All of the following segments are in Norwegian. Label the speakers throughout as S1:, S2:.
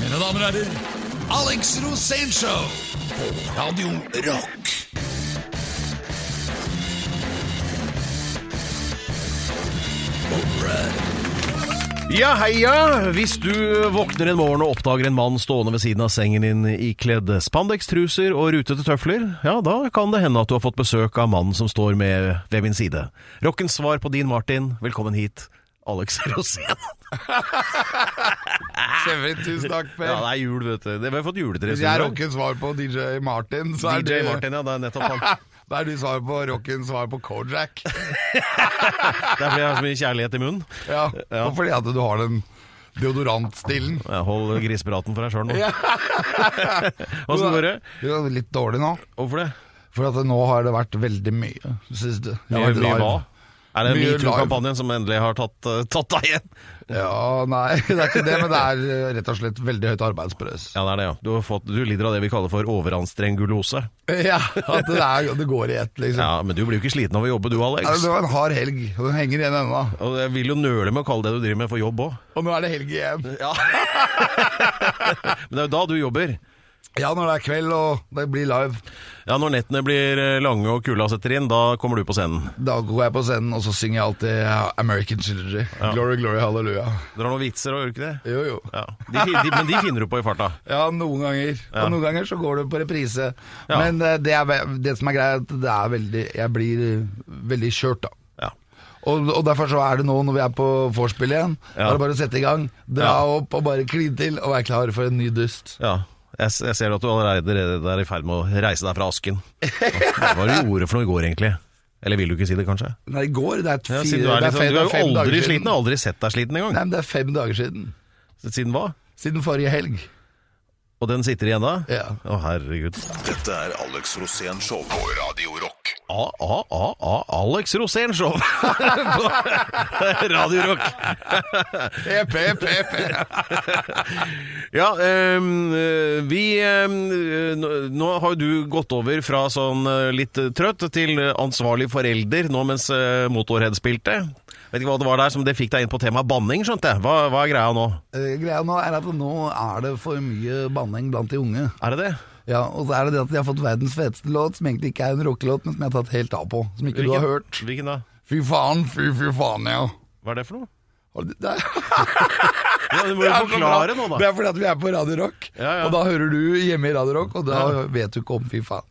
S1: Mine damer og herrer, Alex Rosénshow på Radio Rock.
S2: Ja, heia! Hvis du våkner en morgen og oppdager en mann stående ved siden av sengen din ikledd spandex-truser og rutete tøfler, ja, da kan det hende at du har fått besøk av mannen som står med ved min side. Rockens svar på din Martin, velkommen hit, Alex Rosén.
S3: Kjempe, tusen takk, Per.
S2: Ja, det er jul, vet du. Det- Vi har fått juletre.
S3: Hvis jeg er rockens svar på DJ Martin, så er
S2: DJ
S3: du-
S2: Martin, ja, det er nettopp han.
S3: Da er du svar på rockens svar på Kojak.
S2: Det er fordi jeg har så mye kjærlighet i munnen.
S3: Ja, Og fordi at du har den deodorantstilen.
S2: Ja, Hold grisepraten for deg sjøl nå. Åssen går det?
S3: Jo, litt dårlig nå.
S2: Hvorfor det?
S3: For at nå har det vært veldig mye. Synes du?
S2: Ja, mye hva? Er det
S3: Mye
S2: metoo-kampanjen som endelig har tatt, eh, tatt deg igjen?
S3: Ja, nei, det er ikke det, men det er eh, rett og slett veldig høyt arbeidspress.
S2: Ja, det er det, ja. Du, har fått, du lider av det vi kaller for overanstrengulose.
S3: Ja, at det, er, det går i ett, liksom.
S2: Ja, men du blir jo ikke sliten av å jobbe, du,
S3: Ja, Det
S2: Alex.
S3: var en hard helg, og den henger igjen ennå.
S2: Og jeg vil jo nøle med å kalle det du driver med, for jobb òg.
S3: Og nå er det helg igjen.
S2: Men det er jo da du jobber.
S3: Ja, når det er kveld og det blir live,
S2: Ja, Når nettene blir eh, lange og kulda setter inn, da kommer du på scenen.
S3: da går jeg på scenen og så synger jeg alltid American Children. Glory, glory, hallelujah.
S2: Dere har noen vitser og gjør dere ikke det?
S3: Jo, jo.
S2: Ja. De, fin- de, men de finner du på i farta.
S3: Ja, noen ganger. Og noen ganger så går det på reprise.
S2: Ja.
S3: Men eh, det, er, ve- det som er greia, er at det er veldig, jeg blir eh, veldig kjørt, da.
S2: Ja.
S3: Og, og derfor så er det nå, når vi er på vorspiel igjen, da
S2: Ja.
S3: er det bare å sette i gang. Dra
S2: Ja.
S3: opp og bare kline til og være klar for en ny dust.
S2: ja. Jeg, s- jeg ser at du allerede er i ferd med å reise deg fra asken. Hva var det du gjorde for noe i går, egentlig? Eller vil du ikke si det, kanskje?
S3: Nei, i går Det er,
S2: Ja,
S3: fire,
S2: siden du er,
S3: det
S2: liksom,
S3: fem-
S2: du er
S3: fem
S2: jo aldri
S3: dager siden.
S2: sliten, har aldri sett deg sliten engang.
S3: Nei, men det er fem dager siden.
S2: Siden hva?
S3: Siden forrige helg.
S2: Og den sitter igjen da?
S3: Ja.
S2: Å, herregud.
S1: Dette er Alex Rosén Show på Radio Rock.
S2: A-a-a-a Alex Rosén Show på Radio Rock.
S3: EP, EP, EP.
S2: Ja, ehm, eh, vi ehm, eh, nå- Nå har jo du gått over fra sånn eh, litt eh, trøtt til eh, ansvarlig forelder nå mens eh, Motorhead spilte. Vet ikke hva det var der som det fikk deg inn på temaet banning, skjønte jeg. Hva, hva er greia nå?
S3: Eh, Greia nå er at nå er det for mye banning blant de unge.
S2: Er det det?
S3: Ja, Og så er det det at de har fått verdens feteste låt, som egentlig ikke er en rockelåt, men som jeg har tatt helt av på. Som ikke du har hørt.
S2: Hvilken da?
S3: Fy faen, fy fy faen, ja.
S2: Hva er det for noe?
S3: Og det- det er-
S2: Ja, du må jo
S3: Det er så
S2: forklare
S3: bra.
S2: nå,
S3: Det
S2: da.
S3: er fordi at vi er på Radio Rock,
S2: Ja, ja.
S3: og da hører du hjemme i Radio Rock, og da
S2: Ja.
S3: vet du ikke om Fy faen.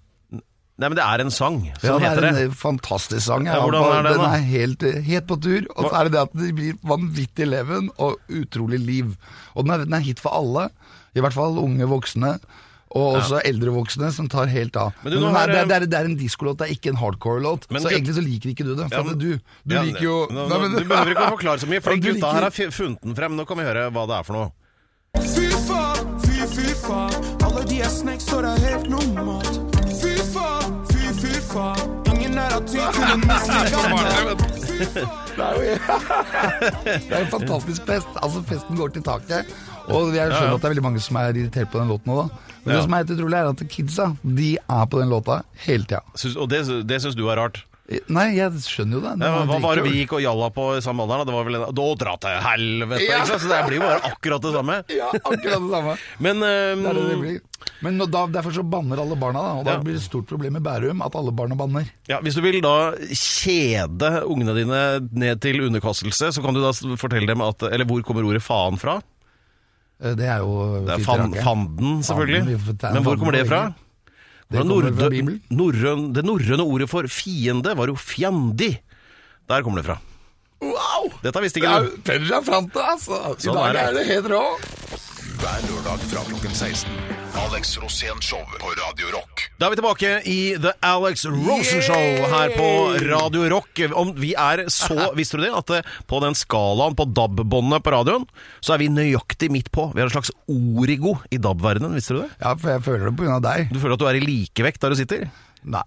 S2: Nei, men det er en sang som
S3: det
S2: heter
S3: er
S2: det.
S3: en eh, fantastisk sang.
S2: Ja, hvordan er den
S3: den
S2: da?
S3: er helt, eh, helt på tur. Og så
S2: Hva-
S3: er det det at det blir vanvittig leven og utrolig liv. Og den er, den er hit for alle, i hvert fall unge voksne. Og også eldre voksne som tar helt av.
S2: Men
S3: Men
S2: du, nå
S3: den
S2: har,
S3: er, det,
S2: eh,
S3: er, det er- det er en diskolåt, det er ikke en hardcore-låt. Så
S2: Men gutt-
S3: egentlig så liker ikke du det. For
S2: Ja,
S3: at
S2: men-
S3: du du
S2: Ja,
S3: liker jo
S2: nå, nå,
S3: Nei, men-
S2: Du behøver ikke å forklare så mye, for
S3: Ja, du
S2: gutta
S3: liker-
S2: her har fi- funnet den frem. Nå kan vi høre hva det er for noe.
S4: Fy faen, fy fy faen Alle de er snakes og det er helt normalt Fy faen, fy fy faen Ingen er av tid til å miste gammel Fy faen
S3: Det er en fantastisk fest. Altså, festen går til taket. Og jeg
S2: Ja, ja.
S3: skjønner at det er veldig mange som er irritert på den låten nå, da. Men
S2: Ja.
S3: det som er helt utrolig, er at kidsa, de er på den låta hele tida.
S2: Syns, og det, det syns du er rart.
S3: Nei, jeg skjønner jo det.
S2: Ja,
S3: Den
S2: hva var det
S3: dritkul.
S2: vi gikk og gjalla på i samme alder? Da? Det var vel en, Da dra til helvete!
S3: Ja.
S2: Ikke sant? Så det blir jo bare akkurat det samme.
S3: Ja, akkurat det samme.
S2: Men ehm,
S3: Det er det det blir. Men nå- da, derfor så banner alle barna, da. Og da
S2: Ja.
S3: blir det et stort problem i Bærum at alle barna banner.
S2: ja, hvis du vil da kjede ungene dine ned til underkastelse, så kan du da s- fortelle dem at Eller hvor kommer ordet faen fra?
S3: Eh, Det er jo
S2: Det er
S3: fint
S2: fan,
S3: rakke.
S2: fanden,
S3: Fanden, vi
S2: selvfølgelig.
S3: får ta en
S2: Men hvor
S3: fanden
S2: kommer det
S3: på
S2: fra?
S3: veggen. Det kommer fra
S2: Nordø-
S3: Bibelen.
S2: norrøn- det norrøne ordet for fiende var jo fjandi. Der kommer det fra.
S3: Wow!
S2: Dette visste
S3: Det
S2: ikke
S3: er
S2: du.
S3: jo Perra Franta, altså. I
S2: Sånn er
S3: dag
S2: det.
S3: er det helt rå.
S1: Hver lørdag fra klokken 16. Alex Rosén Show på Radio Rock.
S2: Da er vi tilbake i The Alex Rosen Show her på Radio Rock. Om vi er så Visste du det? At eh, på den skalaen på DAB-båndet på radioen, så er vi nøyaktig midt på. Vi er en slags origo i DAB-verdenen, visste du det?
S3: Ja, for jeg føler det på grunn av deg.
S2: Du føler at du er i likevekt der du sitter?
S3: Nei.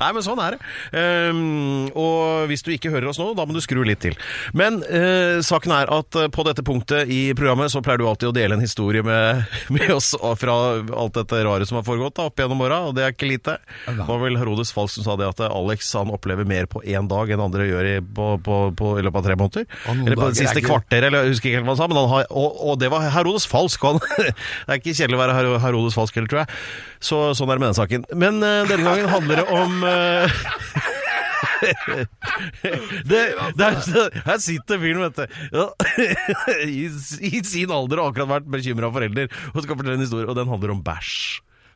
S2: Nei, men sånn er det. Ehm, og hvis du ikke hører oss nå, da må du skru litt til. Men eh, saken er at eh, på dette punktet i programmet så pleier du alltid å dele en historie med, med oss fra alt dette rare som har foregått da, opp gjennom åra, og det er ikke lite. Det var vel Herodes Falk som sa det at eh, Alex han opplever mer på én dag enn andre gjør i, på, på, på, i løpet av tre måneder.
S3: Og noen
S2: Eller på det
S3: dager er
S2: siste
S3: ikke-
S2: kvarter, eller jeg husker ikke helt hva han sa, men han har, og, og det var Herodes Falsk. og Han, det er ikke kjedelig å være Her- Herodes Falsk heller, tror jeg. Så sånn er det med den saken. Men eh, denne gangen handler det om eh, det, der, her sitter fyren, vet du. Ja. I, I sin alder og akkurat vært bekymra forelder og skal fortelle en historie, og den handler om bæsj.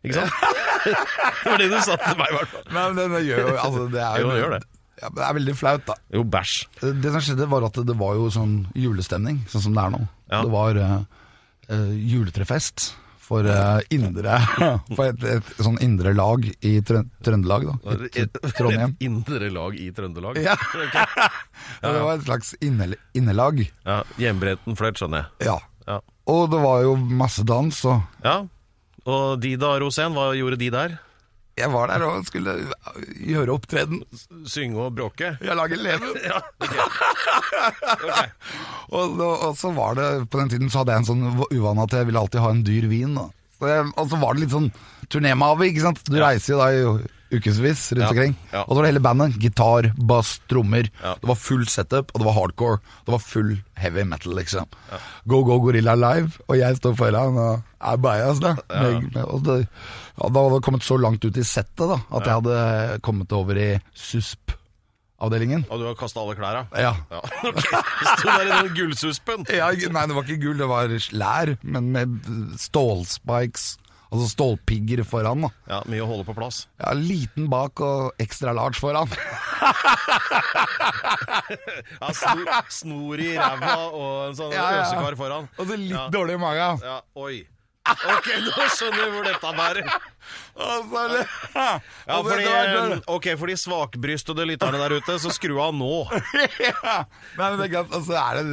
S2: Ikke sant? det var det du sa til meg, i hvert fall.
S3: Nei, men den gjør jo altså, det er
S2: Jo, den gjør det.
S3: Ja, men det er veldig flaut, da.
S2: Jo, bæsj.
S3: Det som skjedde, var at det var jo sånn julestemning, sånn som det er nå.
S2: Ja.
S3: Det var eh, eh, juletrefest for eh, indre For et, et sånn indre lag i Trøn Trøndelag, da. I T- Trondheim.
S2: Et indre lag i Trøndelag.
S3: Ja. Det var et slags innel- innelag.
S2: Ja, Hjemmebrenten flørt, skjønner jeg.
S3: Ja.
S2: Ja.
S3: Og det var jo masse dans, og
S2: Ja, og de da, Rosén, hva gjorde de der?
S3: jeg var der og skulle gjøre opptreden.
S2: Synge og bråke?
S3: Jeg lager leven. og, og, og så var det På den tiden så hadde jeg en sånn uvane at jeg ville alltid ha en dyr vin. Da. Så jeg, og så var det litt sånn turnémave, ikke sant. Du reiser jo da i ukevis rundt
S2: Ja,
S3: omkring.
S2: ja.
S3: Og så var det hele bandet. Gitar, bass, trommer.
S2: Ja.
S3: Det var full setup, og det var hardcore. Det var full heavy metal, liksom. Go Go Gorilla Live, og jeg står foran og er bajas, da. Med, med, og det, ja, da hadde jeg kommet så langt ut i settet da, at jeg hadde kommet over i susp-avdelingen.
S2: Og du har kasta alle klærne?
S3: Ja.
S2: Ja, ok. Sto der i den gullsuspen?
S3: Ja, nei, det var ikke gull, det var lær, men med stålspikes, altså stålpigger foran. Da.
S2: Ja, Mye å holde på plass.
S3: Ja, Liten bak og ekstra large foran.
S2: Ja, snor, snor i ræva og en sånn
S3: Ja, ja, ja.
S2: øsekar foran.
S3: Og så litt
S2: Ja.
S3: dårlig i magen.
S2: Ja, oi. Ok, nå skjønner vi hvor dette bærer.
S3: Og så le-
S2: Ja,
S3: og det-
S2: fordi,
S3: det var-
S2: eh, ok, for de svakbrystede lytterne der ute, så skru av nå.
S3: ja. Nei, men det er greit, og så er det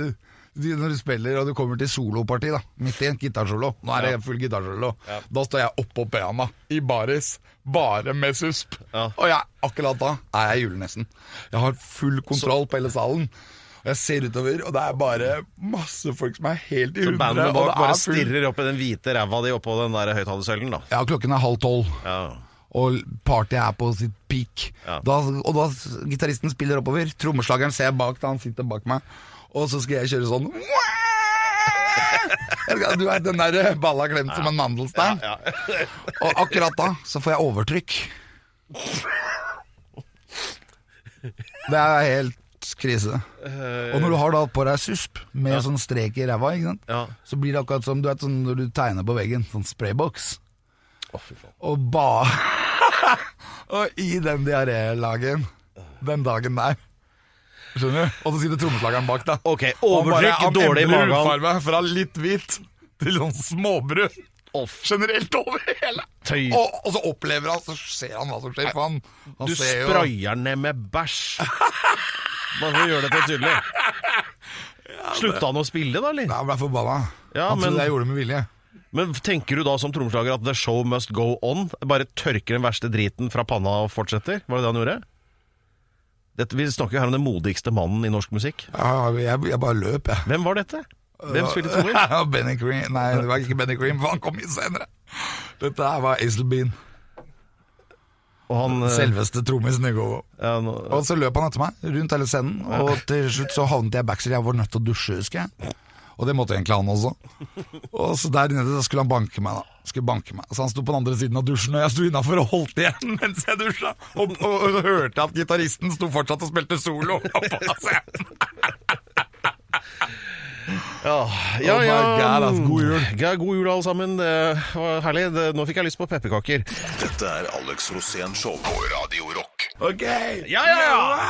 S3: du- når du spiller og du kommer til soloparti, da midt i en gitarsolo Nå er det full gitarsolo. Da står jeg oppå bena i baris, bare med susp.
S2: Ja.
S3: Og jeg, akkurat da er jeg julenissen. Jeg har full kontroll på hele salen. Og jeg ser utover, og det er bare masse folk som er helt i
S2: Så
S3: hundre.
S2: bandet
S3: Og
S2: bak
S3: det
S2: bare
S3: er full
S2: stirrer opp i den hvite ræva di oppå den der høyttalersøylen, da.
S3: Ja, klokken er halv tolv.
S2: Ja.
S3: og partyet er på sitt peak.
S2: Ja.
S3: Da, og da s- gitaristen spiller oppover, trommeslageren ser jeg bak da han sitter bak meg, og så skal jeg kjøre sånn Jeg skal- Du er den der eh, balla klemt som en mandelstein.
S2: Ja.
S3: Og akkurat da så får jeg overtrykk. Det er helt krise.
S2: Eh,
S3: Og når du har da på deg susp med sånn strek i ræva, ikke sant?
S2: Ja.
S3: så blir det akkurat som du vet, sånn når du tegner på veggen, sånn sprayboks.
S2: Å, fy faen.
S3: Og ba Og i den diarélagen Den dagen der Skjønner du? Og så sitter trommeslageren bak da
S2: Ok, overtrykk,
S3: Han bare- han
S2: dårlig i
S3: endrer
S2: magen.
S3: hudfarve Fra litt hvit til sånn småbrun Generelt over hele
S2: Tøy.
S3: og, og så opplever han, så ser han hva som skjer For han, han
S2: Du
S3: ser jo-
S2: sprayer ned med bæsj. Bare for å gjøre dette tydelig. Slutta han å spille, da, eller?
S3: Nei, han ble forbanna
S2: Ja,
S3: Han
S2: men-
S3: trodde jeg gjorde det med vilje
S2: Men tenker du da som trommeslager at the show must go on? Bare tørker den verste driten fra panna og fortsetter? Var det det han gjorde? Dette, vi snakker jo her om den modigste mannen i norsk musikk.
S3: ja, jeg, jeg bare løp jeg
S2: Hvem var dette? Hvem spilte trommer?
S3: Ja, Benny Cream Nei, det var ikke Benny Cream For han kom inn senere Dette her var Azelbean
S2: Og han eh,
S3: Selveste trommisen i går
S2: ja, nå-
S3: Og så løp han etter meg rundt hele scenen, og til slutt så havnet jeg backstage. Jeg var nødt til å dusje, husker jeg. Og det måtte egentlig han også. Og så der nede da skulle han banke meg, da. Skulle banke meg. Så han sto på den andre siden av dusjen, og jeg sto innafor og holdt igjen mens jeg dusja. Og, og, og så hørte jeg at gitaristen sto fortsatt og spilte solo oppå scenen.
S2: Ja, ja,
S3: Oh my
S2: ja.
S3: God, ass. God jul.
S2: Ja, god jul, alle sammen. Det var herlig. Det, nå fikk jeg lyst på pepperkaker.
S1: Dette er Alex Rosén Show på Radio Rock.
S3: Ok.
S2: Ja, ja, ja!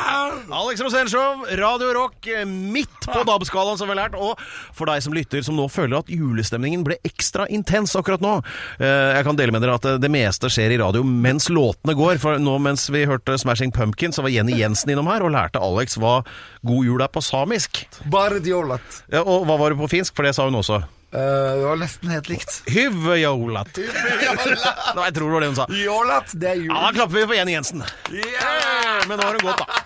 S2: Alex Rosénshow, Radio Rock, eh, midt på DAB-skalaen, som vi har lært. Og for deg som lytter, som nå føler at julestemningen ble ekstra intens akkurat nå. eh, Jeg kan dele med dere at eh, det meste skjer i radio mens låtene går. For nå mens vi hørte Smashing Pumpkins, så var Jenny Jensen innom her og lærte Alex hva god jul er på samisk.
S3: Bare diolat.
S2: Ja, og hva var det på finsk? For det sa hun også.
S3: Eh, det var nesten helt likt.
S2: Hyvjolat. Nå, jeg tror det var det hun sa.
S3: Jålat, det er jul.
S2: Ja, Da klapper vi for Jenny Jensen. Eh, Men nå har hun gått, da.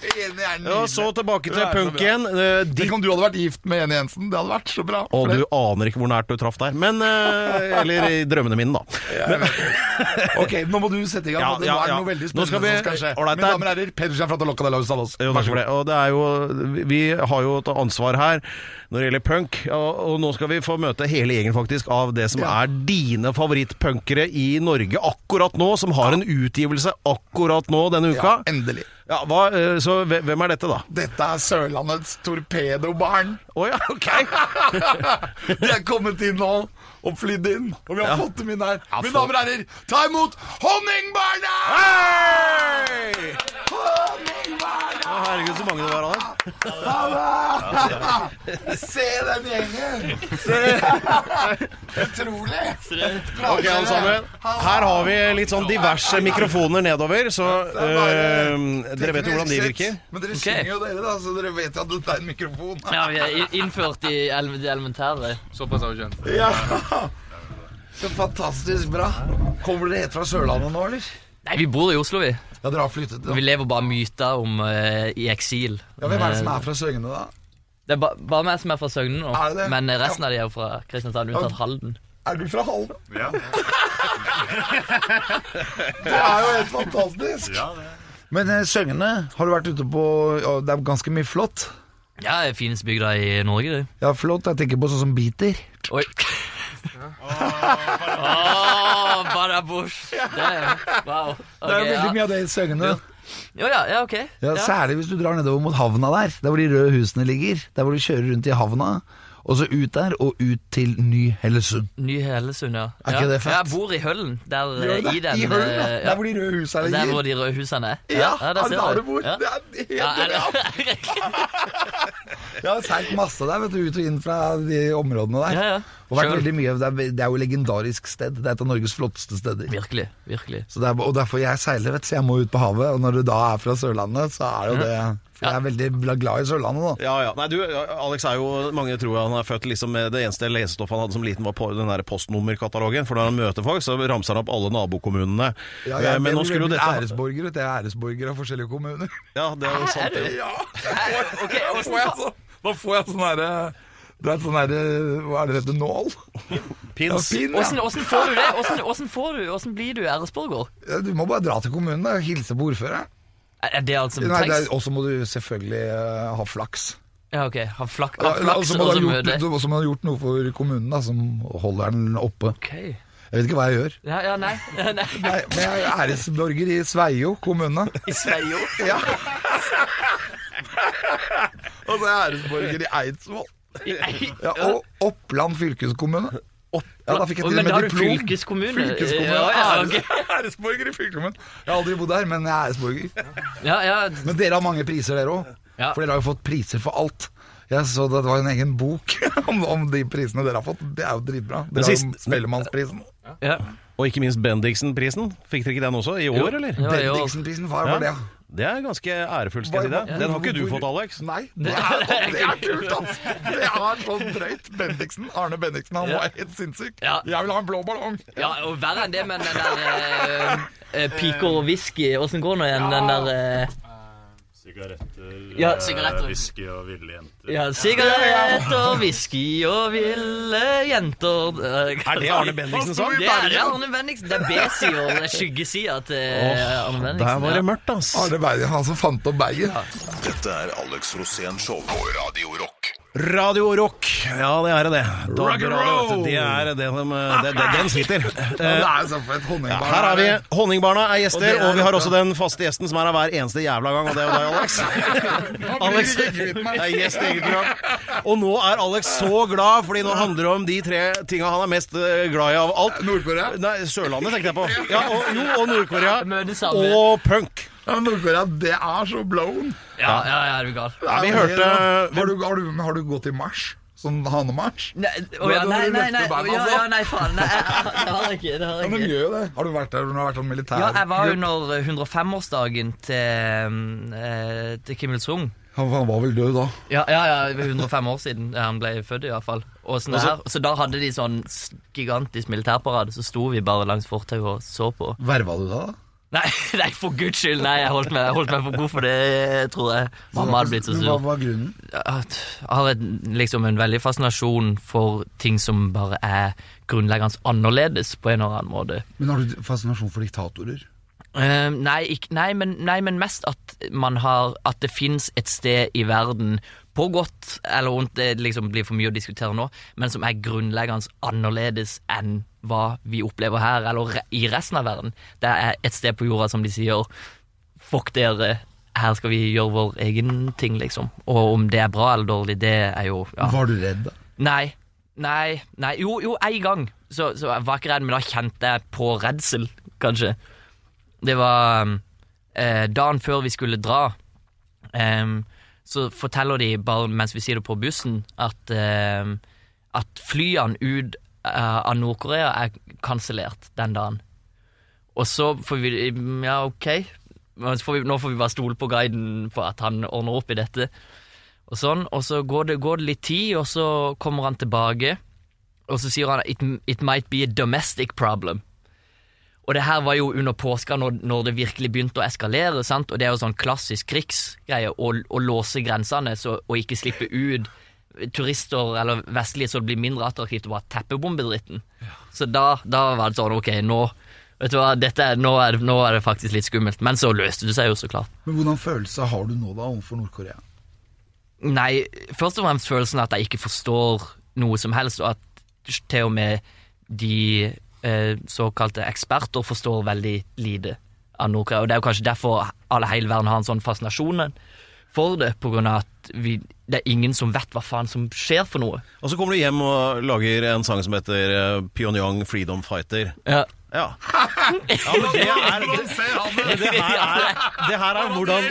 S2: Ja, så tilbake til punken. Eh, De
S3: Tenk om du hadde vært gift med Jenny Jensen. Det hadde vært så bra.
S2: Og
S3: For
S2: du
S3: det-
S2: aner ikke hvor nært du traff der. Men eh, Eller i drømmene mine, da.
S3: Ok, nå må du sette i gang.
S2: Ja,
S3: nå-
S2: ja,
S3: nå er det
S2: ja.
S3: noe veldig
S2: Nå
S3: spennende
S2: skal vi-
S3: som skal skje.
S2: Ålreit,
S3: Mine
S2: der.
S3: damer og herrer, Pedersen fra Taloca de Laus Salos.
S2: Jo, takk for det. Og det er jo, vi- vi har jo et ansvar her når det gjelder punk, og, og nå skal vi få møte hele gjengen faktisk av det som
S3: Ja.
S2: er dine favorittpunkere i Norge akkurat nå, som har en utgivelse akkurat nå denne uka.
S3: Ja, endelig.
S2: Ja, hva, eh, så hve- hvem er dette, da?
S3: Dette er Sørlandets torpedobarn.
S2: Å ja, ok.
S3: De er kommet inn nå og flydd inn. Og vi har fått dem inn her.
S2: Ja,
S3: Mine
S2: få-
S3: damer og herrer, ta imot Honningbarna!
S2: Å,
S3: Honningbarna!
S2: herregud, så mange det var av der.
S3: Halla! Se den gjengen! Se. Utrolig!
S2: Ok, alle sammen. Her har vi litt sånn diverse mikrofoner nedover, så
S3: Det er bare-
S2: eh, dere vet jo hvordan de
S3: Teknisk sett.
S2: virker.
S3: Men dere synger jo dere, da, så dere vet jo at det er en mikrofon.
S5: Ja, vi er i- innført i ele- det elementære.
S6: Såpass har vi skjønt.
S3: Ja. Så fantastisk bra. Kommer dere helt fra Sørlandet nå, eller?
S5: Nei, vi bor i Oslo, vi.
S3: Ja, dere har flyttet.
S5: Vi
S3: Da.
S5: lever bare myter om eh, i eksil. Eh,
S3: Ja, hvem er det som er fra Søgne, da?
S5: Det er ba bare meg som er fra Søgne nå.
S3: Er det det?
S5: Men resten av de er jo fra Kristiansand, unntatt Halden.
S3: Er du fra Halden? Ja. det er jo helt fantastisk. Men eh, Søgne, har du vært ute på ja, Det er ganske mye flott.
S5: Ja, det er fineste bygda i Norge, det.
S3: Ja, flott. Jeg tenker på sånn som biter.
S5: Oi. Åh, Badabush. Det er wow.
S3: Det er
S5: Ok,
S3: jo veldig
S5: ja.
S3: mye av det i Søgne.
S5: Jo, ja, ja, ok.
S3: Ja,
S5: Ja.
S3: Særlig hvis du drar nedover mot havna der, der hvor de røde husene ligger. Der hvor du kjører rundt i havna, og så ut der, og ut til Ny-Hellesund.
S5: Ny Helesund, ja.
S3: Er ikke
S5: Ja.
S3: det fett?
S5: Ja, Jeg bor i Høllen, der eh, i den
S3: I Høllen, da.
S5: eh, ja.
S3: Der hvor de røde husene
S5: Der hvor
S3: ligger.
S5: de røde husene er.
S3: Ja,
S5: ja,
S3: der,
S5: der ser
S3: du bor.
S5: Ja.
S3: Det er helt
S5: Ja, er det-
S3: bra. Jeg har seilt masse der, vet du, ut og inn fra de områdene der.
S5: Ja, ja.
S3: Og vært
S5: Sure.
S3: veldig mye, det er, det er jo et legendarisk sted. Det er et av Norges flotteste steder.
S5: Virkelig. virkelig
S3: Så det er, og derfor jeg seiler, vet du, så jeg må ut på havet. Og når du da er fra Sørlandet, så er jo det For jeg er veldig bla- glad i Sørlandet, da.
S2: Ja, ja. Nei, du, Alex er jo Mange tror han er født liksom med Det eneste lesestoffet han hadde som liten, var på den der postnummerkatalogen. For når han møter folk, så ramser han opp alle nabokommunene.
S3: Ja,
S2: Eh,
S3: jeg,
S2: Men nå
S3: jeg blir
S2: skulle jo
S3: veldig
S2: dette
S3: æresborger, vet du. Jeg er æresborger av forskjellige kommuner.
S2: Ja, det er jo sant. det.
S3: Ja! Da får jeg så- da får jeg sånn herre Du vet sånn herre Hva er det dette? Nål? Ja,
S2: Pins.
S3: pin,
S5: Åssen
S3: ja.
S5: åssen får du det? Åssen- Åssen får du, åssen blir du æresborger?
S3: Ja, Du må bare dra til kommunen da, og hilse på ordføreren.
S5: Er er det altså alt som
S3: Nei, det
S5: trengs?
S3: er- Og så må du selvfølgelig eh, ha flaks.
S5: Ja, ok. Ha flak, ha
S3: Ja, og
S5: flaks
S3: så
S5: og
S3: må du
S5: så
S3: ha gjort,
S5: møte.
S3: du- og så må du ha gjort noe for kommunen da, som holder den oppe.
S5: Ok.
S3: Jeg vet ikke hva jeg gjør.
S5: Ja, ja, nei. nei.
S3: Nei, men jeg er æresborger i Sveio kommune.
S5: I Sveio.
S3: Og så er jeg æresborger i Eidsvoll. Ja, og Oppland fylkeskommune. Ja, da fikk jeg til og
S5: men
S3: med
S5: da har du
S3: diplom.
S5: fylkeskommune.
S3: Fylkeskommune.
S5: Ja, ja, ok.
S3: Æresborger i fylkeskommunen. Jeg har aldri bodd der, men jeg er æresborger.
S5: ja, ja.
S3: Men dere har mange priser, dere òg.
S5: Ja.
S3: For dere har jo fått priser for alt. Jeg så det var en egen bok om, om de prisene dere har fått. Det er jo dritbra. Dere har jo
S2: siste-
S3: Spellemannsprisen.
S5: ja.
S2: Og ikke minst Bendiksen-prisen. Fikk dere ikke den også? I år, eller?
S5: Ja, jo.
S3: Bendiksen-prisen, hva var det?
S2: Ja. Det er ganske ærefullt, skal jeg si
S3: Hva-
S2: det. Den har ikke du
S3: hvor-
S2: fått, Alex.
S3: Nei, det er, det er kult, ass. Det er så drøyt. Bendiksen, Arne Bendiksen, han var helt sinnssyk.
S5: Ja.
S3: Jeg vil ha en blå ballong.
S5: ja, og verre enn det, men den der eh, eh, piker og whisky, åssen går nå igjen den der eh,
S7: Sigaretter,
S5: Ja,
S7: eh,
S5: sigaretter.
S7: whisky og ville jenter.
S5: Ja, sigarett og whisky og ville jenter
S2: Er det Arne Bendiksen som?
S5: Det er det er Arne Bendiksen. Det er B-sida, det er skyggesida til eh, Arne Bendiksen.
S2: Der var
S5: ja.
S2: det mørkt, ass.
S3: Arne Bergen, han som fant opp Bergen.
S1: Dette er Alex Rosén Show på Radio Rock.
S2: Radio Rock. Ja, det er det. Da-
S3: Rock and roll!
S2: Det er det som eh, det, det, Den sitter.
S3: Ja,
S2: Eh,
S3: det er jo sånn for et
S2: Ja,
S3: honningbarn.
S2: her har vi Honningbarna er
S3: Og det
S2: gjester,
S3: er
S2: og vi har
S3: dette.
S2: også den faste gjesten som er her hver eneste jævla gang, og det er jo deg, Alex. Alex er gjest i eget program. Og nå er Alex så glad, fordi nå handler det om de tre tinga han er mest eh, glad i av alt.
S3: Nord-Korea?
S2: Nei, Sørlandet tenkte jeg på. Ja, og, jo, og
S5: Møtes
S2: Nord-Korea.
S5: sammen.
S2: Og punk.
S3: Ja, Nord-Korea, det er så blown.
S5: Ja, ja, ja, er du gal.
S3: Det er
S2: Vi
S3: jo
S2: hørte-
S3: helt- har, du, har, du, har du gått i marsj? Sånn hanemarsj?
S5: Nei, å ja,
S3: Du
S5: nei,
S3: har jo
S5: nei, nei,
S3: løftet beina,
S5: ja,
S3: altså.
S5: ja, nei, faen. Nei, jeg- det har jeg ikke. Det har
S3: Ja,
S5: jeg
S3: de
S5: ikke.
S3: gjør jo det. Har du vært der når du har vært sånn militær?
S5: Ja, jeg var under 105-årsdagen til, eh, til Kim Il-sung.
S3: Han, han var vel død da.
S5: Ja, ja, ja, 105 år siden han ble født, i hvert fall. Og sånn her, så da hadde de sånn s- gigantisk militærparade, så sto vi bare langs fortauet og så på.
S3: Verva du da? da?
S5: Nei, nei, for guds skyld! Nei, jeg holdt meg, jeg holdt meg for god for det, eh, tror jeg. Mamma hadde blitt så
S3: Men Hva
S5: sur.
S3: var grunnen?
S5: at jeg har et, liksom en veldig fascinasjon for ting som bare er grunnleggende annerledes på en eller annen måte.
S3: Men har du fascinasjon for diktatorer?
S5: Eh, nei, ikk- nei, men, nei, men mest at man har At det fins et sted i verden, på godt eller vondt, det liksom blir for mye å diskutere nå, men som er grunnleggende annerledes enn hva vi opplever her, eller re i resten av verden. Det er et sted på jorda som de sier Fuck dere, her skal vi gjøre vår egen ting, liksom. Og om det er bra eller dårlig, det er jo ja.
S3: Var du redd da?
S5: Nei. Nei, nei Jo, jo, en gang så, så jeg var ikke redd, men da kjente jeg på redsel, kanskje. Det var um, eh, dagen før vi skulle dra. em, så forteller de, bare mens vi sier det på bussen, at, em, at flyene ut eh, av Nord-Korea er kansellert den dagen. Og så får vi Ja, OK. Men så får vi, nå får vi bare stole på guiden på at han ordner opp i dette. Og sånn, og så går det, går det litt tid, og så kommer han tilbake, og så sier han it, it might be a domestic problem. Og det her var jo under påska, når, når det virkelig begynte å eskalere, sant? og det er jo sånn klassisk krigsgreie, å, å låse grensene så, og ikke slippe ut turister eller vestlige, så det blir mindre attraktivt å bare teppebombe dritten. Så da, da var det sånn, ok, nå, vet du hva, dette, er- nå, er, det- nå er det faktisk litt skummelt. Men så løste det seg jo så klart.
S3: Men Hvordan følelse har du nå da overfor Nord-Korea?
S5: Nei, først og fremst følelsen at jeg ikke forstår noe som helst, og at til og med de eh, såkalte eksperter forstår veldig lite av Nord-Korea. Og det er jo kanskje derfor alle hele verden har en sånn fascinasjon for det, på grunn av at vi, det er ingen som vet hva faen som skjer for noe.
S2: Og så kommer du hjem og lager en sang som heter eh, Pyongyang Freedom Fighter.
S5: Ja.
S2: Ja. ja men det er det her er, det her er hvordan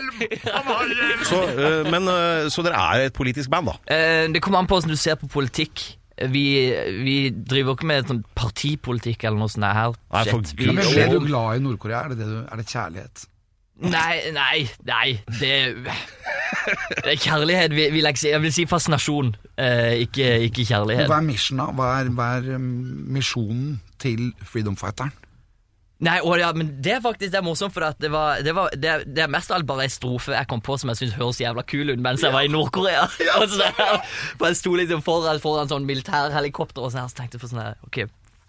S2: så, eh, men, eh, så dere er et politisk band, da?
S5: Eh, Det kommer an på hvordan du ser på politikk. Vi, vi driver ikke med sånn partipolitikk eller noe sånt her.
S2: Nei, for
S5: Shit,
S2: Gud,
S3: Men
S2: Jo.
S3: Ble du glad i Nord-Korea? Er, det det du- er det kjærlighet?
S5: Nei, nei, nei Det, det er kjærlighet vil, vil jeg, ikke si. jeg vil si fascinasjon eh, ikke, ikke
S3: Men
S5: kjærlighet
S3: Hva er missiona? Hva er, hva er um, misjonen til Freedom Fighteren?
S5: Nei, å, ja, men det er faktisk det er morsomt For at det, var, det, var, det, er- det er mest av alt bare en strofe jeg kom på Som jeg synes høres jævla kul ut Mens jeg var i Nord-Korea Og så der, For jeg sto liksom foran, foran sånn militær helikopter Og sånn her, så tenkte jeg på sånn her Ok,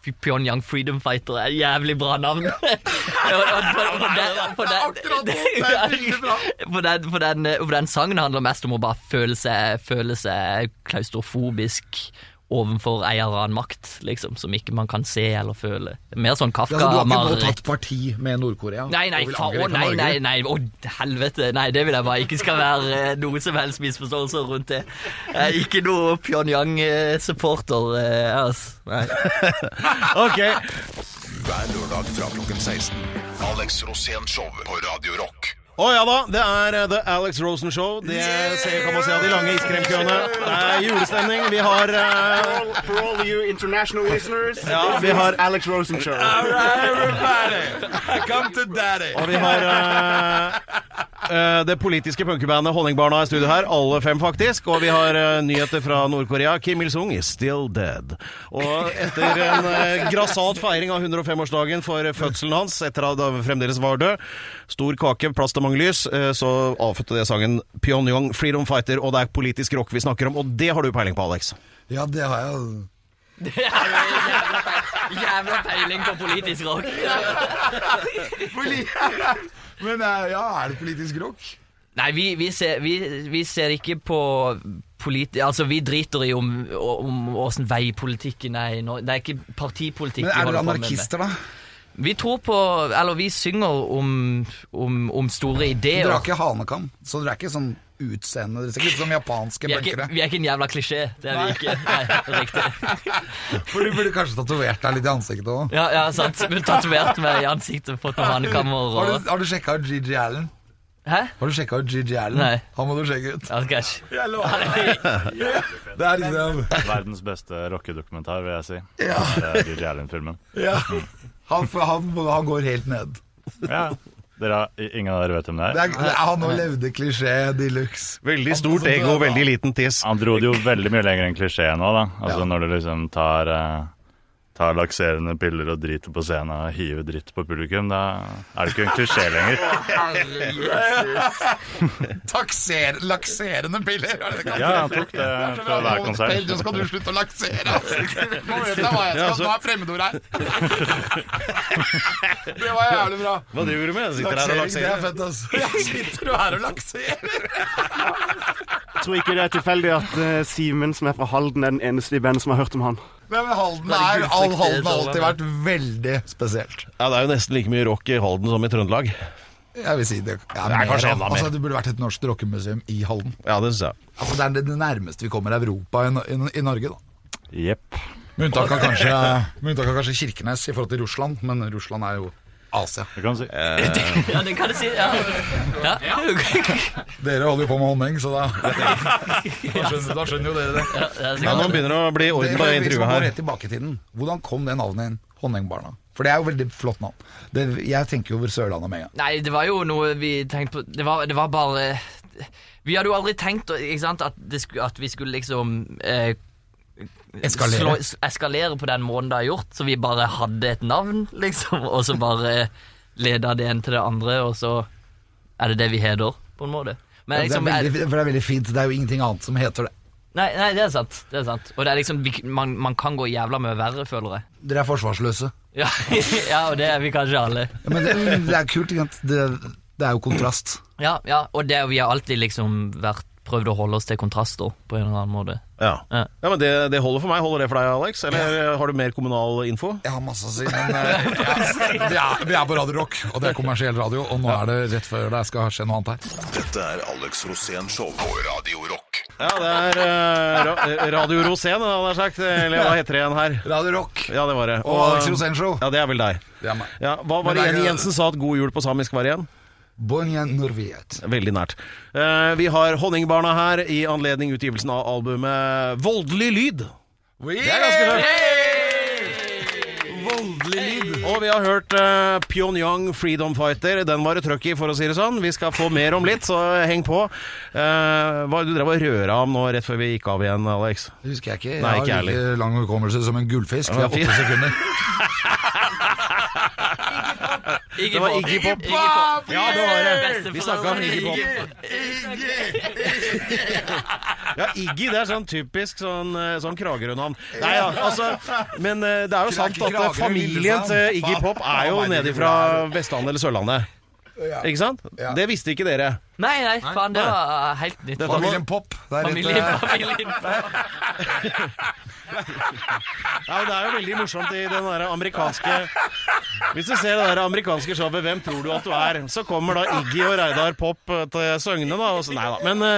S5: fy- Pyongyang Freedom Fighter er et jævlig bra navn Og- og- og- og- og- og- og- For den, for, den, for den sangen handler mest om å bare føle seg, føle seg klaustrofobisk overfor en eller annen makt, liksom, som ikke man kan se eller føle. Mer sånn
S3: Ja, så du
S5: Kafka,
S3: har ikke nå
S5: mareritt.
S3: tatt parti med Nord-Korea?
S5: Nei, nei,
S3: og vil
S5: fa å,
S3: angripe
S5: nei,
S3: Norge?
S5: nei, nei, å helvete. Nei, det vil jeg bare ikke skal være eh, noe som helst misforståelser rundt det. Jeg er ikke noe Pyongyang-supporter, eh, altså. Nei.
S2: Ok,
S1: Hver lørdag fra klokken 16. Alex Rosén Show på Radio Rock.
S2: Å ja da, det er eh, The Alex Rosen Show. Det ser, kan man se av de lange iskremkøene. Det er julestemning. Vi har eh,
S6: all- for all you international listeners,
S2: Ja, vi har-
S6: Alex Rosen Show.
S2: Og vi har eh, eh, det politiske punkebandet Honningbarna i studio her. Alle fem, faktisk. Og vi har eh, nyheter fra Nord-Korea. Kim Il-sung is still dead. Og etter en eh, grassat feiring av 105-årsdagen for fødselen hans, etter at han fremdeles var død, stor kake, plass til mange lys, eh, så avfødte det sangen Pyongyang Freedom Fighter, og det er politisk rock vi snakker om. Og det har du peiling på, Alex.
S3: Ja, det har jeg.
S5: Det er jo jævla pe- Jævla peiling på politisk rock.
S3: Men eh, ja, er det politisk rock?
S5: Nei, vi, vi, ser, vi, vi ser ikke på politi... Altså, vi driter i om, om åssen veipolitikken er i Norge. Det er ikke partipolitikk
S3: Men
S5: vi
S3: er dere
S5: holder på med.
S3: anarkister, da?
S5: Vi tror på Eller vi synger om, om, om store ideer.
S3: Dere har ikke hanekam, så dere er ikke sånn utseende Dere ser ikke ut som japanske
S5: vi, er ikke,
S3: punkere.
S5: vi er ikke en jævla klisjé. Det er vi ikke. Nei, riktig.
S3: For du burde kanskje tatovert deg litt i ansiktet òg.
S5: Ja, ja sant. Vi har Tatovert meg i ansiktet, fått noen hanekammer
S3: Har
S5: og
S3: du, har du sjekka ut GG Allen?
S5: Hæ?
S3: Har du sjekka ut GG Allen?
S5: Nei.
S3: Han må du sjekke ut.
S5: Ja, kanskje.
S3: Det er liksom
S7: Verdens beste rockedokumentar, vil jeg si. eh, Ja. Det er DJ Allen-filmen.
S3: ja. han, for han, han går helt ned.
S7: Ja. Dere har, i- ingen av dere vet hvem det
S3: Det
S7: er.
S3: er, det er han nå levde klisjé de luxe.
S2: Veldig stort ego, veldig liten tiss.
S7: Han dro det jo veldig mye lenger enn klisjeen òg, da. Altså når du liksom tar eh, Tar lakserende piller og driter på scenen og hiver dritt på publikum, da er det ikke en klisjé lenger.
S3: Takser, lakserende piller! Er det det
S7: Ja, han tok det fra hver konsert.
S3: Nå skal du slutte å laksere! Nå vet jeg hva jeg
S2: Ja,
S3: skal,
S2: så-
S3: nå er fremmedord her! Det var jævlig bra.
S2: Hva driver du med? Jeg sitter her og
S3: Laksering, det
S2: lakserer.
S3: er fett, altså. Jeg sitter jo her og lakserer!
S6: Jeg tror ikke det er tilfeldig at eh, Simen, som er fra Halden, er den eneste i bandet som har hørt om han.
S3: Nei, men Halden er, all Halden har alltid vært veldig spesielt.
S2: Ja, det er jo nesten like mye rock i Halden som i Trøndelag.
S3: Jeg vil si det. Ja,
S2: Det er kanskje
S3: av-
S2: enda mer.
S3: altså, det burde vært et norsk rockemuseum i Halden.
S2: Ja, det syns jeg.
S3: Altså, det er det nærmeste vi kommer Europa i, i, i Norge, da.
S7: Jepp.
S3: Med unntak av kanskje, med unntak av kanskje Kirkenes i forhold til Russland, men Russland er jo Asia.
S7: Det kan du si.
S5: Ja, det kan du si. Ja. Ja.
S3: Dere holder jo på med honning, så da, da, skjønner, da skjønner jo dere det.
S2: Ja, nå begynner det å bli
S3: Det
S2: orden på
S3: er Hvis man
S2: intervjuet
S3: går
S2: her.
S3: rett tilbake i tiden, hvordan kom det navnet inn? Honningbarna. For det er jo veldig flott navn. Det, jeg tenker jo over Sørlandet med en gang.
S5: Nei, det var jo noe vi tenkte på Det var, det var bare Vi hadde jo aldri tenkt ikke sant, at, det skulle, at vi skulle liksom eh,
S3: Eskalere.
S5: slå- s- eskalere på den måten det har gjort, så vi bare hadde et navn, liksom, og så bare leda det ene til det andre, og så er det det vi heter, på en måte. Men
S3: det, er
S5: liksom,
S3: veldig, for det er veldig fint. Det er jo ingenting annet som heter det.
S5: nei, nei, det er sant. Det er sant. Og det er liksom vi, man, man kan gå jævla mye verre, føler jeg.
S3: Dere er forsvarsløse.
S5: Ja, ja, og det er vi kanskje alle.
S3: Ja, Men det, det er kult, ikke sant? Det, det er jo kontrast.
S5: Ja, ja, og det, vi har alltid liksom vært prøvd å holde oss til kontraster på en eller annen måte.
S2: Ja.
S5: Ja.
S2: ja, men det, det holder for meg. Holder det for deg, Alex? Eller eh, har du mer kommunal info?
S3: Jeg har masse å si, men eh, ja, vi, er, vi er på Radio Rock, og det er kommersiell radio. Og nå er det rett før det skal skje noe annet her.
S1: Dette er Alex Rosén Show på Radio Rock.
S2: Ja, det er eh, ra Radio Rosén, hadde jeg nær sagt. Eller hva heter det igjen her?
S3: Radio Rock
S2: Ja, det var det.
S3: og Alex Rosén Show.
S2: Ja, det er vel deg.
S3: Det er meg.
S2: Ja, hva var
S3: Men
S2: det
S3: det er
S2: igjen
S3: ikke-
S2: Jensen sa at god jul på samisk var igjen?
S3: Bonje Norviet.
S2: Veldig nært. Eh, vi har Honningbarna her i anledning utgivelsen av albumet Voldelig lyd. Det er ganske tøft. Voldelig lyd. Og vi har hørt eh, Pyongyang Freedom Fighter. Den var det trøkk i, for å si det sånn. Vi skal få mer om litt, så heng på. Eh, hva du drev og røra om nå rett før vi gikk av igjen, Alex?
S3: Det husker jeg ikke. Jeg
S2: Nei, ikke
S3: har
S2: jeg
S3: like lang hukommelse som en gullfisk. Vi
S2: Ja,
S3: har åtte
S2: fint.
S3: sekunder.
S5: Iggy
S2: Det var
S5: Pop.
S2: Iggy Pop.
S5: Iggy Pop.
S2: Ja, det var det.
S5: Beste
S2: Vi snakka om
S5: foreldre.
S2: Iggy Pop. Ja, Iggy det er sånn typisk sånn, eh, sånn Kragerø-navn. Nei ja, altså Men eh, det er jo sant at eh,
S3: Kragerø,
S2: familien
S3: Lillesand.
S2: til Iggy Pop er jo
S3: Faen,
S2: nede fra Vestlandet eller Sørlandet. Ikke sant?
S3: Ja.
S2: Det visste ikke dere.
S5: Nei, nei, faen, det var helt nytt.
S2: Dette må-
S3: Familien Pop. Det er litt,
S5: Familie,
S3: eh,
S5: familie.
S2: Ja, men Det er jo veldig morsomt i den der amerikanske Hvis du ser det der amerikanske showet 'Hvem tror du at du er?', så kommer da Iggy og Reidar Pop eh, til Søgne, da. Og så, nei da. Men eh,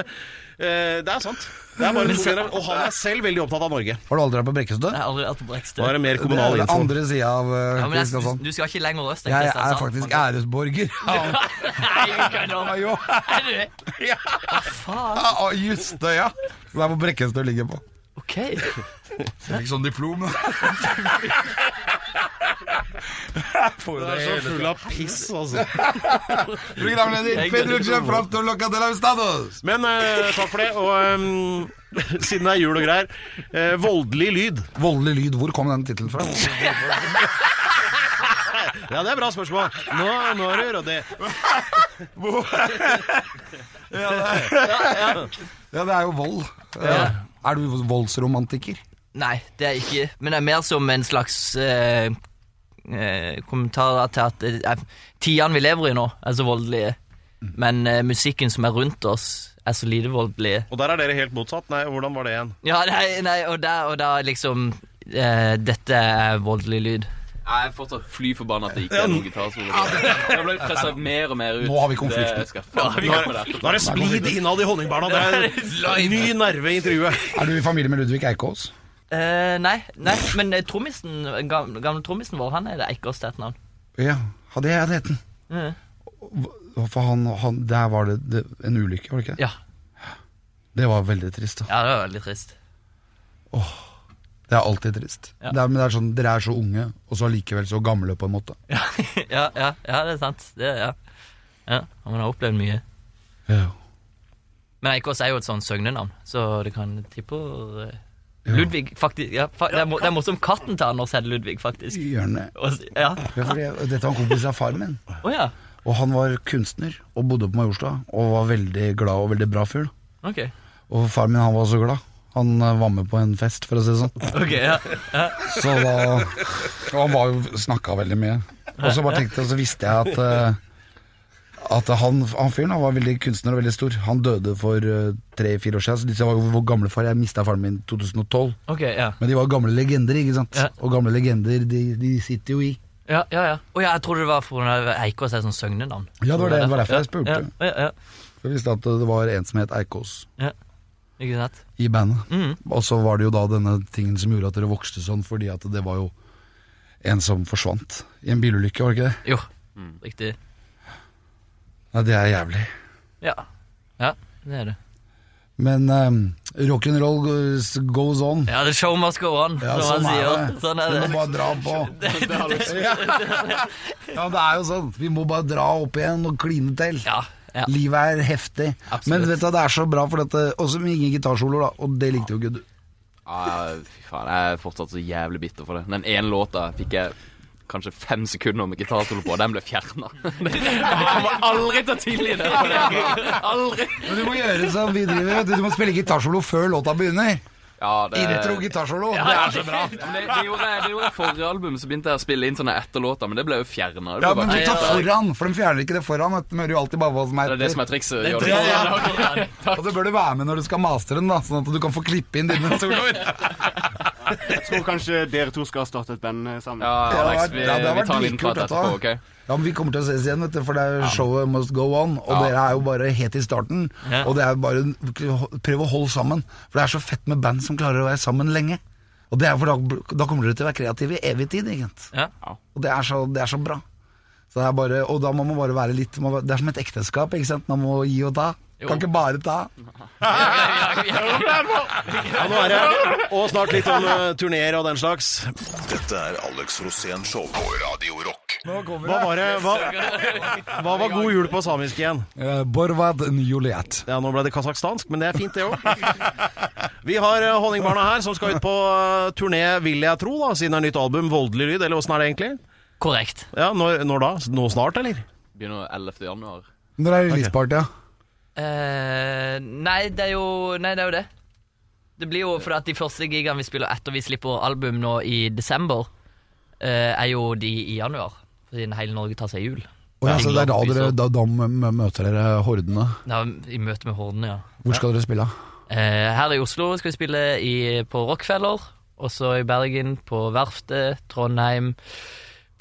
S2: eh, det er sant. Det er bare to generasjoner. Og han er selv veldig opptatt av Norge.
S3: Har du aldri vært på Brekkestø?
S5: Jeg har aldri vært på
S2: Nå
S5: Brekstø.
S2: er det mer
S3: Det
S2: kommunal
S3: er den
S2: info.
S3: andre sida av eh,
S5: Ja, men jeg,
S2: altså.
S3: Kristiansand.
S5: du skal ikke lenger øst enn
S3: Jeg
S5: Kristiansand.
S3: er faktisk
S5: Man-
S3: æresborger. Ja,
S5: Nei, du kødder.
S3: jo.
S5: Er du det?
S3: Ja, og Justøya. Det er hvor Brekkestø ligger på.
S5: Ok.
S3: Jeg fikk sånn diplom.
S2: Det er så full av piss, altså.
S3: Programleder Pedro Fronto Loca de la Estados.
S2: Men eh, takk for det. Og ehm, siden det er jul og greier eh, Voldelig lyd.
S3: Voldelig lyd. Hvor kom den tittelen fra?
S2: Ja, det er bra spørsmål. Nå, nå er du rådig.
S3: Ja, det er jo vold. Eh,
S5: Ja.
S3: Er du voldsromantiker?
S5: Nei, det er ikke Men det er mer som en slags eh, eh, kommentar til at eh, eh, tidene vi lever i nå, er så voldelige. Men eh, musikken som er rundt oss, er så lite voldelige.
S2: Og der er dere helt motsatt. Nei, hvordan var det igjen?
S5: Ja, nei, nei og der, og der liksom eh, Dette er voldelig lyd.
S8: Jeg er fortsatt fly forbanna at det ikke er noen gitarsolo. Jeg ble pressa mer og mer ut.
S3: Nå har vi konflikten.
S8: Det skal jeg faen ikke gjøre med det.
S2: Nå er det splid innad i honningbarna. Det er en ny nerve i intervjuet.
S3: Er du i familie med Ludvig Eikås?
S5: Eh, nei, nei, men eh, trommisen, gam, gamle trommisen vår, han er det Eikås til et navn.
S3: Ja, ja, det er heten.
S5: Mhm.
S3: For han, han, der var det, det en ulykke, var det ikke det?
S5: Ja.
S3: Det var veldig trist. da
S5: ja, det var veldig trist.
S3: Det er alltid trist.
S5: Ja.
S3: Det er, men det er sånn, dere er så unge, og så allikevel så gamle, på en måte.
S5: ja, ja, ja, det er sant. Det, ja. Ja, man har opplevd mye.
S3: Ja.
S5: Men Eikås er jo et sånn søgnenavn, så det kan tippe eh, Ludvig, faktisk. Ja, fa det er mo- det er morsomt. Katten til Anders heter Ludvig, faktisk.
S3: Gjør den det?
S5: Og, s- ja.
S3: Ja, for det- Dette var en kompis av faren min,
S5: Å ja.
S3: og han var kunstner og bodde på Majorstua. Og var veldig glad og veldig bra fugl.
S5: Ok.
S3: Og faren min han var så glad. Han eh, var med på en fest, for å si det sånn.
S5: Ok, ja.
S3: Så da, og han var jo snakka veldig mye. Og så bare tenkte jeg, så visste jeg at eh, At han, han fyren han var veldig kunstner og veldig stor. Han døde for tre-fire år siden. Så disse var jo vår gamle far. Jeg mista faren min i 2012.
S5: Ok, ja.
S3: Men de var gamle legender, ikke sant?
S5: Ja.
S3: Og gamle legender, de, de sitter jo i.
S5: Ja, ja, ja. Å ja, jeg trodde det var fordi Eikås er sånn søgnenavn.
S3: Ja, det var det- det var derfor jeg
S5: Ja,
S3: spurte.
S5: Ja, ja, ja,
S3: For Jeg visste at det var en som het Eikås
S5: Ikke sant?
S3: i bandet.
S5: Mhm.
S3: Og så var det jo da denne tingen som gjorde at dere vokste sånn, fordi at det var jo en som forsvant i en bilulykke, var det ikke det?
S5: Jo, riktig.
S3: Nei, det er jævlig.
S5: Ja. ja, det er det.
S3: Men um, rock'n'roll goes, goes on.
S5: Ja, the show must go on,
S3: Ja, sånn
S5: som man sier.
S3: er det.
S5: Sånn er
S3: Vi
S5: det.
S3: må bare dra på. Ja. ja, det er jo sånn. Vi må bare dra opp igjen og kline til.
S5: Ja, ja.
S3: Livet er heftig.
S5: Absolutt.
S3: Men vet du, hva, det er så bra, for dette også med ingen gitarsoloer, da. Og det likte jo ikke du.
S8: Ah, fy faen, jeg er fortsatt så jævlig bitter for det. Den ene låta fikk jeg kanskje fem sekunder med gitarsolo på, og den ble fjerna. Jeg kommer aldri til å tilgi det. Aldri.
S3: Men du må gjøre som vi driver, vet du. Du må spille gitarsolo før låta begynner.
S8: Ja, det,
S3: Intro gitarsolo.
S8: Ja, det er så bra. Det, det gjorde jeg det gjorde jeg forrige album, så begynte jeg å spille inn sånne etterlåter, men det ble jo fjerna.
S3: Ja, men du
S8: det,
S3: tar foran, for de fjerner ikke det foran. vet du. De hører jo alltid bare hva som er
S8: det er det som er trikset. gjør det.
S3: Ja, ja. Og så bør du være med når du skal mastre den, da, sånn at du kan få klippe inn dine soloer.
S6: Tror kanskje dere to skal starte et band eh, sammen.
S8: Ja, Alex, vi,
S3: Ja, det har
S8: vi
S3: vært
S8: tar en liten
S3: dritkult,
S8: prat etterpå, OK?
S3: Ja, men Vi kommer til å ses igjen, vet du, for det er showet must go on. Og
S8: Ja.
S3: dere er jo bare helt i starten.
S5: Ja.
S3: Og det er bare prøv å holde sammen. For det er så fett med band som klarer å være sammen lenge. Og det er for da, da kommer dere til å være kreative i evig tid. ikke sant?
S5: Ja.
S3: Og det er så, det er så bra. Så det er bare, og da må man bare være litt må, være- Det er som et ekteskap. ikke sant? Man må gi og ta.
S5: Jo.
S3: Kan ikke bare ta.
S2: Ja, nå er det Og snart litt om uh, turneer og den slags.
S1: Dette er Alex Rosén Show på Radio Rock.
S2: Hva var det Hva, hva var god jul på samisk igjen?
S3: Eh, Borvad Juliet.
S2: Ja, Nå ble det kasakhstansk, men det er fint, det òg. Vi har eh, Honningbarna her, som skal ut på eh, turné, vil jeg tro, da, siden det er nytt album. Voldelig lyd, eller åssen er det egentlig?
S5: Korrekt.
S2: Ja, Når, når da? Nå snart, eller?
S8: Begynner 11. januar.
S3: Når er releasepartyet?
S5: Eh, nei, det er jo, nei, det er jo det. Det blir jo fordi at de første gigene vi spiller etter vi slipper album nå i desember, eh, er jo de i januar. Siden hele Norge tar seg jul.
S3: Å ja, så det er da
S5: England,
S3: dere
S5: liksom.
S3: da, da mø- møter dere hordene.
S5: Da, I møte med hordene, ja.
S3: Hvor skal dere spille?
S5: Eh, her i Oslo skal vi spille i, på Rockefeller, og så i Bergen på Verftet, Trondheim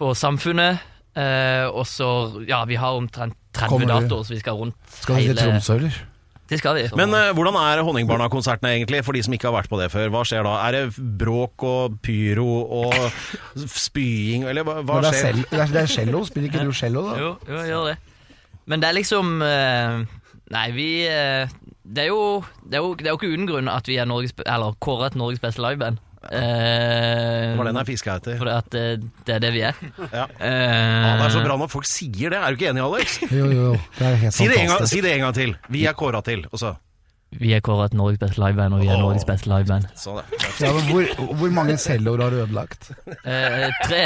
S5: på Samfunnet. eh, og så Ja, vi har omtrent 30
S3: Kommer dere-
S5: datoer, så vi skal rundt
S3: Skal dere til Tromsø, eller?
S5: Det skal vi.
S2: Men eh, hvordan er Honningbarna-konsertene egentlig, for de som ikke har vært på det før? Hva skjer da? Er det bråk og pyro og spying, eller hva, hva
S3: Men det, er
S2: skjer?
S3: cell, det, er, det er cello, spiller ikke du cello da?
S5: Jo, jo, jeg gjør det. Men det er liksom eh, Nei, vi eh, det, er jo, det, er jo, det er jo ikke uten grunn at vi er Norges, eller kåret Norges beste liveband. Eh,
S2: Det var den jeg fiska etter.
S5: Fordi at eh, det er det vi er.
S2: Ja.
S5: Eh,
S2: Ja, det er så bra når folk sier det. Er du ikke enig, Alex?
S3: Jo, jo, jo. Det er helt
S2: Si det en gang,
S3: fantastisk.
S2: si det en gang til. Vi er kåra til. Og så.
S5: Vi er kåret Norges beste liveband, og vi er
S2: Åh.
S5: Norges beste liveband.
S2: Sånn, ja.
S3: Ja, men hvor, hvor mange celloer har du ødelagt?
S5: Eh, tre,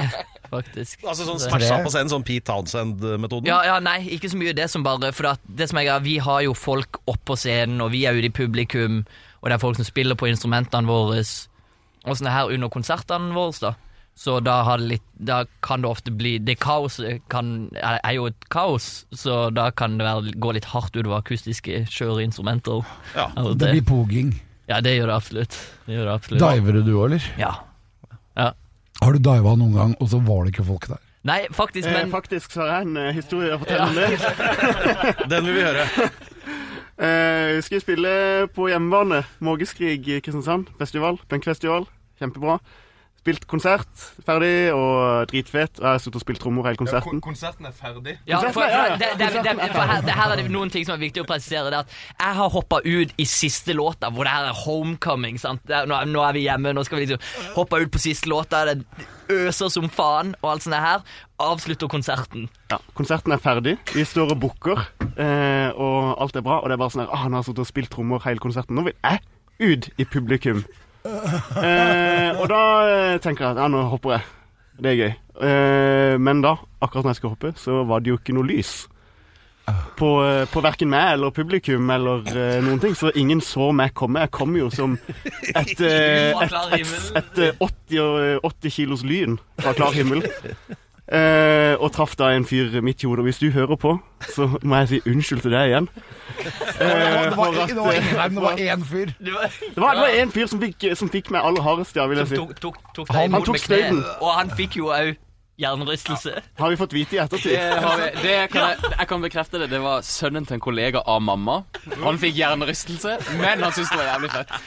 S5: faktisk.
S2: Altså sånn smasha på scenen, sånn Pete Townsend-metoden.
S5: Ja, ja, nei, ikke så mye det som bare For at det som jeg er, vi har jo folk opp på scenen, og vi er ute i publikum, og det er folk som spiller på instrumentene våre, og sånn her under konsertene våre, da. Så da, har det litt, da kan det ofte bli Det kaoset kan, er er jo et kaos, så da kan det være, gå litt hardt utover akustiske kjøreinstrumenter.
S2: Ja.
S5: Altså,
S3: Det blir
S5: det,
S3: poging.
S5: ja, det gjør det absolutt. Det gjør det absolutt.
S3: Diver du, eller?
S5: Ja.
S3: Har du diva noen gang, og så var det ikke folk der?
S5: Nei, faktisk,
S6: Eh,
S5: men
S6: faktisk så har jeg en eh, historie å fortelle om det.
S2: Den vil vi høre.
S6: Eh, skal vi eh, spille på hjemmebane. Mågeskrig i Kristiansand festival. Punkfestival. Kjempebra. spilt konsert ferdig, og dritfett. Og jeg har sittet og spilt trommer hele
S9: Ja, kon-
S6: konserten.
S9: konserten er ferdig.
S5: Ja, for, for, det, det, det, det, for her, det her er det noen ting som er viktig å presisere. Det er at jeg har hoppa ut i siste låta, hvor det her er homecoming. sant? Det er, nå, er- nå er vi hjemme, nå skal vi liksom hoppe ut på siste låta. Det øser som faen, og alt sånt det her. Avslutter konserten.
S6: Ja, konserten er ferdig. Vi står og booker, eh, og alt er bra. Og det er bare sånn her ah, Han har sittet og spilt trommer hele konserten. Nå vil jeg ut i publikum. Eh, og da eh, tenker jeg at ja, nå hopper jeg. Det er gøy. Eh, men da, akkurat når jeg skal hoppe, så var det jo ikke noe lys. På, eh, på verken meg eller publikum eller eh, noen ting, så ingen så meg komme. Jeg kom jo som et, eh, et, et, et, eh, 80, og- 80 kilos lyn fra klar himmel. Eh, og traff da en fyr midt i hodet. Og Hvis du hører på, så må jeg si unnskyld til deg igjen. Eh,
S3: Det
S6: for
S3: var,
S6: at,
S3: ikke- det var,
S6: eh,
S3: ingen, nei, men det var én fyr.
S5: Det var,
S6: det var, det var en fyr som fikk, som fikk meg aller hardest, ja, vil jeg
S5: som
S6: si.
S5: tok, tok, tok deg
S6: Han
S5: imot
S6: tok
S5: med kneet,
S6: støyten.
S5: og han fikk jo òg hjernerystelse.
S6: Har vi fått vite i ettertid.
S8: Det har vi. Det kan jeg, jeg kan bekrefte det. Det var sønnen til en kollega av mamma. Han fikk hjernerystelse, men han syntes det var jævlig fett.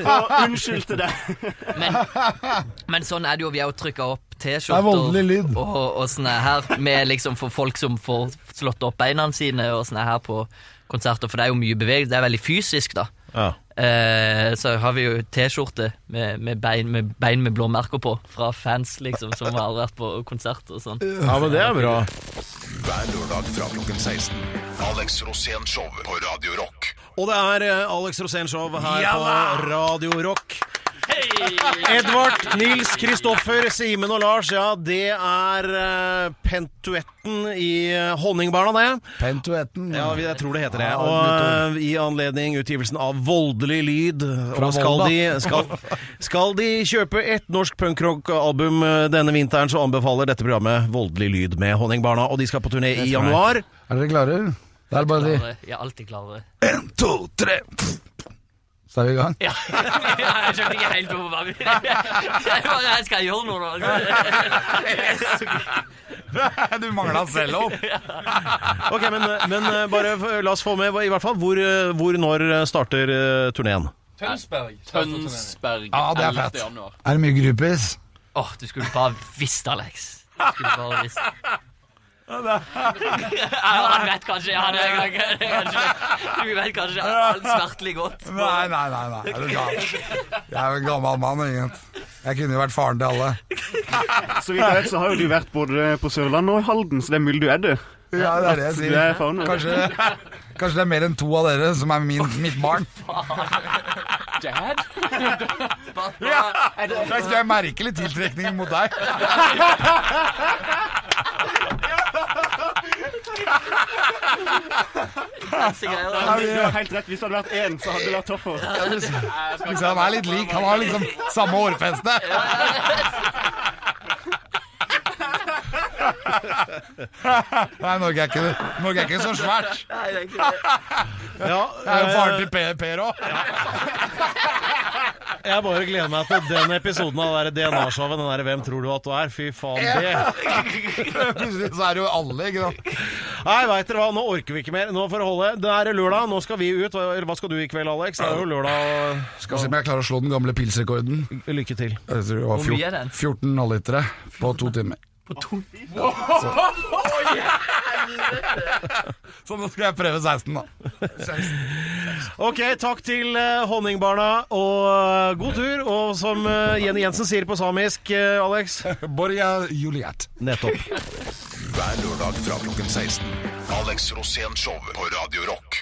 S6: Og unnskyld til deg.
S5: Men, men sånn er det jo. Vi har jo trykka opp
S3: Det er
S5: T-skjorter.
S3: voldelig lyd.
S5: og, og sånn er her med liksom for folk som får slått opp beina sine og sånn er her på konserter, for det er jo mye bevegelse, det er veldig fysisk da.
S2: Ja.
S5: Eh, så har vi jo T-skjorte med, med, bein, med bein med blåmerker på fra fans liksom, som har vært på konsert og sånn.
S2: ja, men det er bra.
S1: Hver lørdag fra klokken 16. Alex Rosén Show på Radio Rock.
S2: Og det er eh, Alex Rosénshow her på Radio Rock. Edvard, Nils, Kristoffer, Simen og Lars, ja, det er eh, pentuetten i eh, Honningbarna, det.
S3: Pentuetten.
S2: Ja, vi- jeg tror det heter det.
S3: Ja,
S2: Og eh, i anledning utgivelsen av Voldelig lyd,
S3: Fra
S2: og skal
S3: Volda.
S2: de, skal, skal de kjøpe et norsk punkrock-album eh, denne vinteren, så anbefaler dette programmet Voldelig lyd med Honningbarna, og de skal på turné i januar.
S3: Er dere klare? Det er bare å si
S5: Klare. Jeg er alltid klare.
S3: to, tre Så er vi i gang.
S5: Ja. Jeg skjønner ikke helt hvorfor bare- Jeg bare, jeg skal gjøre noe nå.
S3: Du mangla cello.
S2: Ok, men, men eh, bare f- la oss få med i hvert fall hvor, eh, hvor når eh, starter eh, turneen.
S9: Tønsberg.
S8: Tønsberg
S3: Ja, det er
S8: 11.
S3: fett.
S8: januar.
S3: Er det mye groupies?
S5: Åh, du skulle bare visst, Alex. Du skulle bare visst. Ja, han vet kanskje ja, det er kanskje, Du vet kanskje alt smertelig godt.
S3: Nei, nei, nei. nei. Er du gal? Jeg er jo en gammel mann. Ingen. Jeg kunne jo vært faren til alle.
S6: Så vidt jeg vet, så har jo du vært både på Sørlandet og i Halden, så det er mulig du er det.
S3: Ja, det er det jeg
S6: Du er
S3: sier.
S6: faen meg.
S3: Kanskje, kanskje det er mer enn to av dere som er min, mitt barn.
S8: Dad?
S3: Jeg skal merke litt tiltrekning mot deg.
S5: Fancy greier.
S6: Du har helt rett. Hvis det hadde vært én, så hadde det vært tøffere.
S3: Liksom, han er litt lik. Han har liksom samme hårfeste. Nei, Norge er ikke, Norge er ikke så svært.
S5: Nei, det er ikke det.
S2: Ja, eh,
S3: Det er jo faren til Per- Per òg.
S2: Jeg bare gleder meg til den episoden av det der DNA-showet. Den der 'Hvem tror du at du er?' Fy faen, det.
S3: Plutselig så er det jo alle. ikke sant?
S2: Nei, veit dere hva, nå orker vi ikke mer. Nå får det holde. Det er lørdag, nå skal vi ut. Hva- Eller hva skal du i kveld, Alex? Det er jo lørdag.
S3: Skal se om jeg klarer å slå den gamle pilsrekorden.
S2: og- Lykke til.
S3: Jeg tror det var
S5: Hvor mye er
S3: 14,
S5: den?
S3: 14 halvlitere på to timer. På to timer? Så. så nå skal jeg prøve 16, da.
S2: Ok, takk til eh, Honningbarna, og eh, god tur. Og som eh, Jenny Jensen sier på samisk, eh, Alex
S3: Borja Juliet.
S2: Nettopp.
S1: Hver lørdag fra klokken 16. Alex Rosén Show på Radio Rock.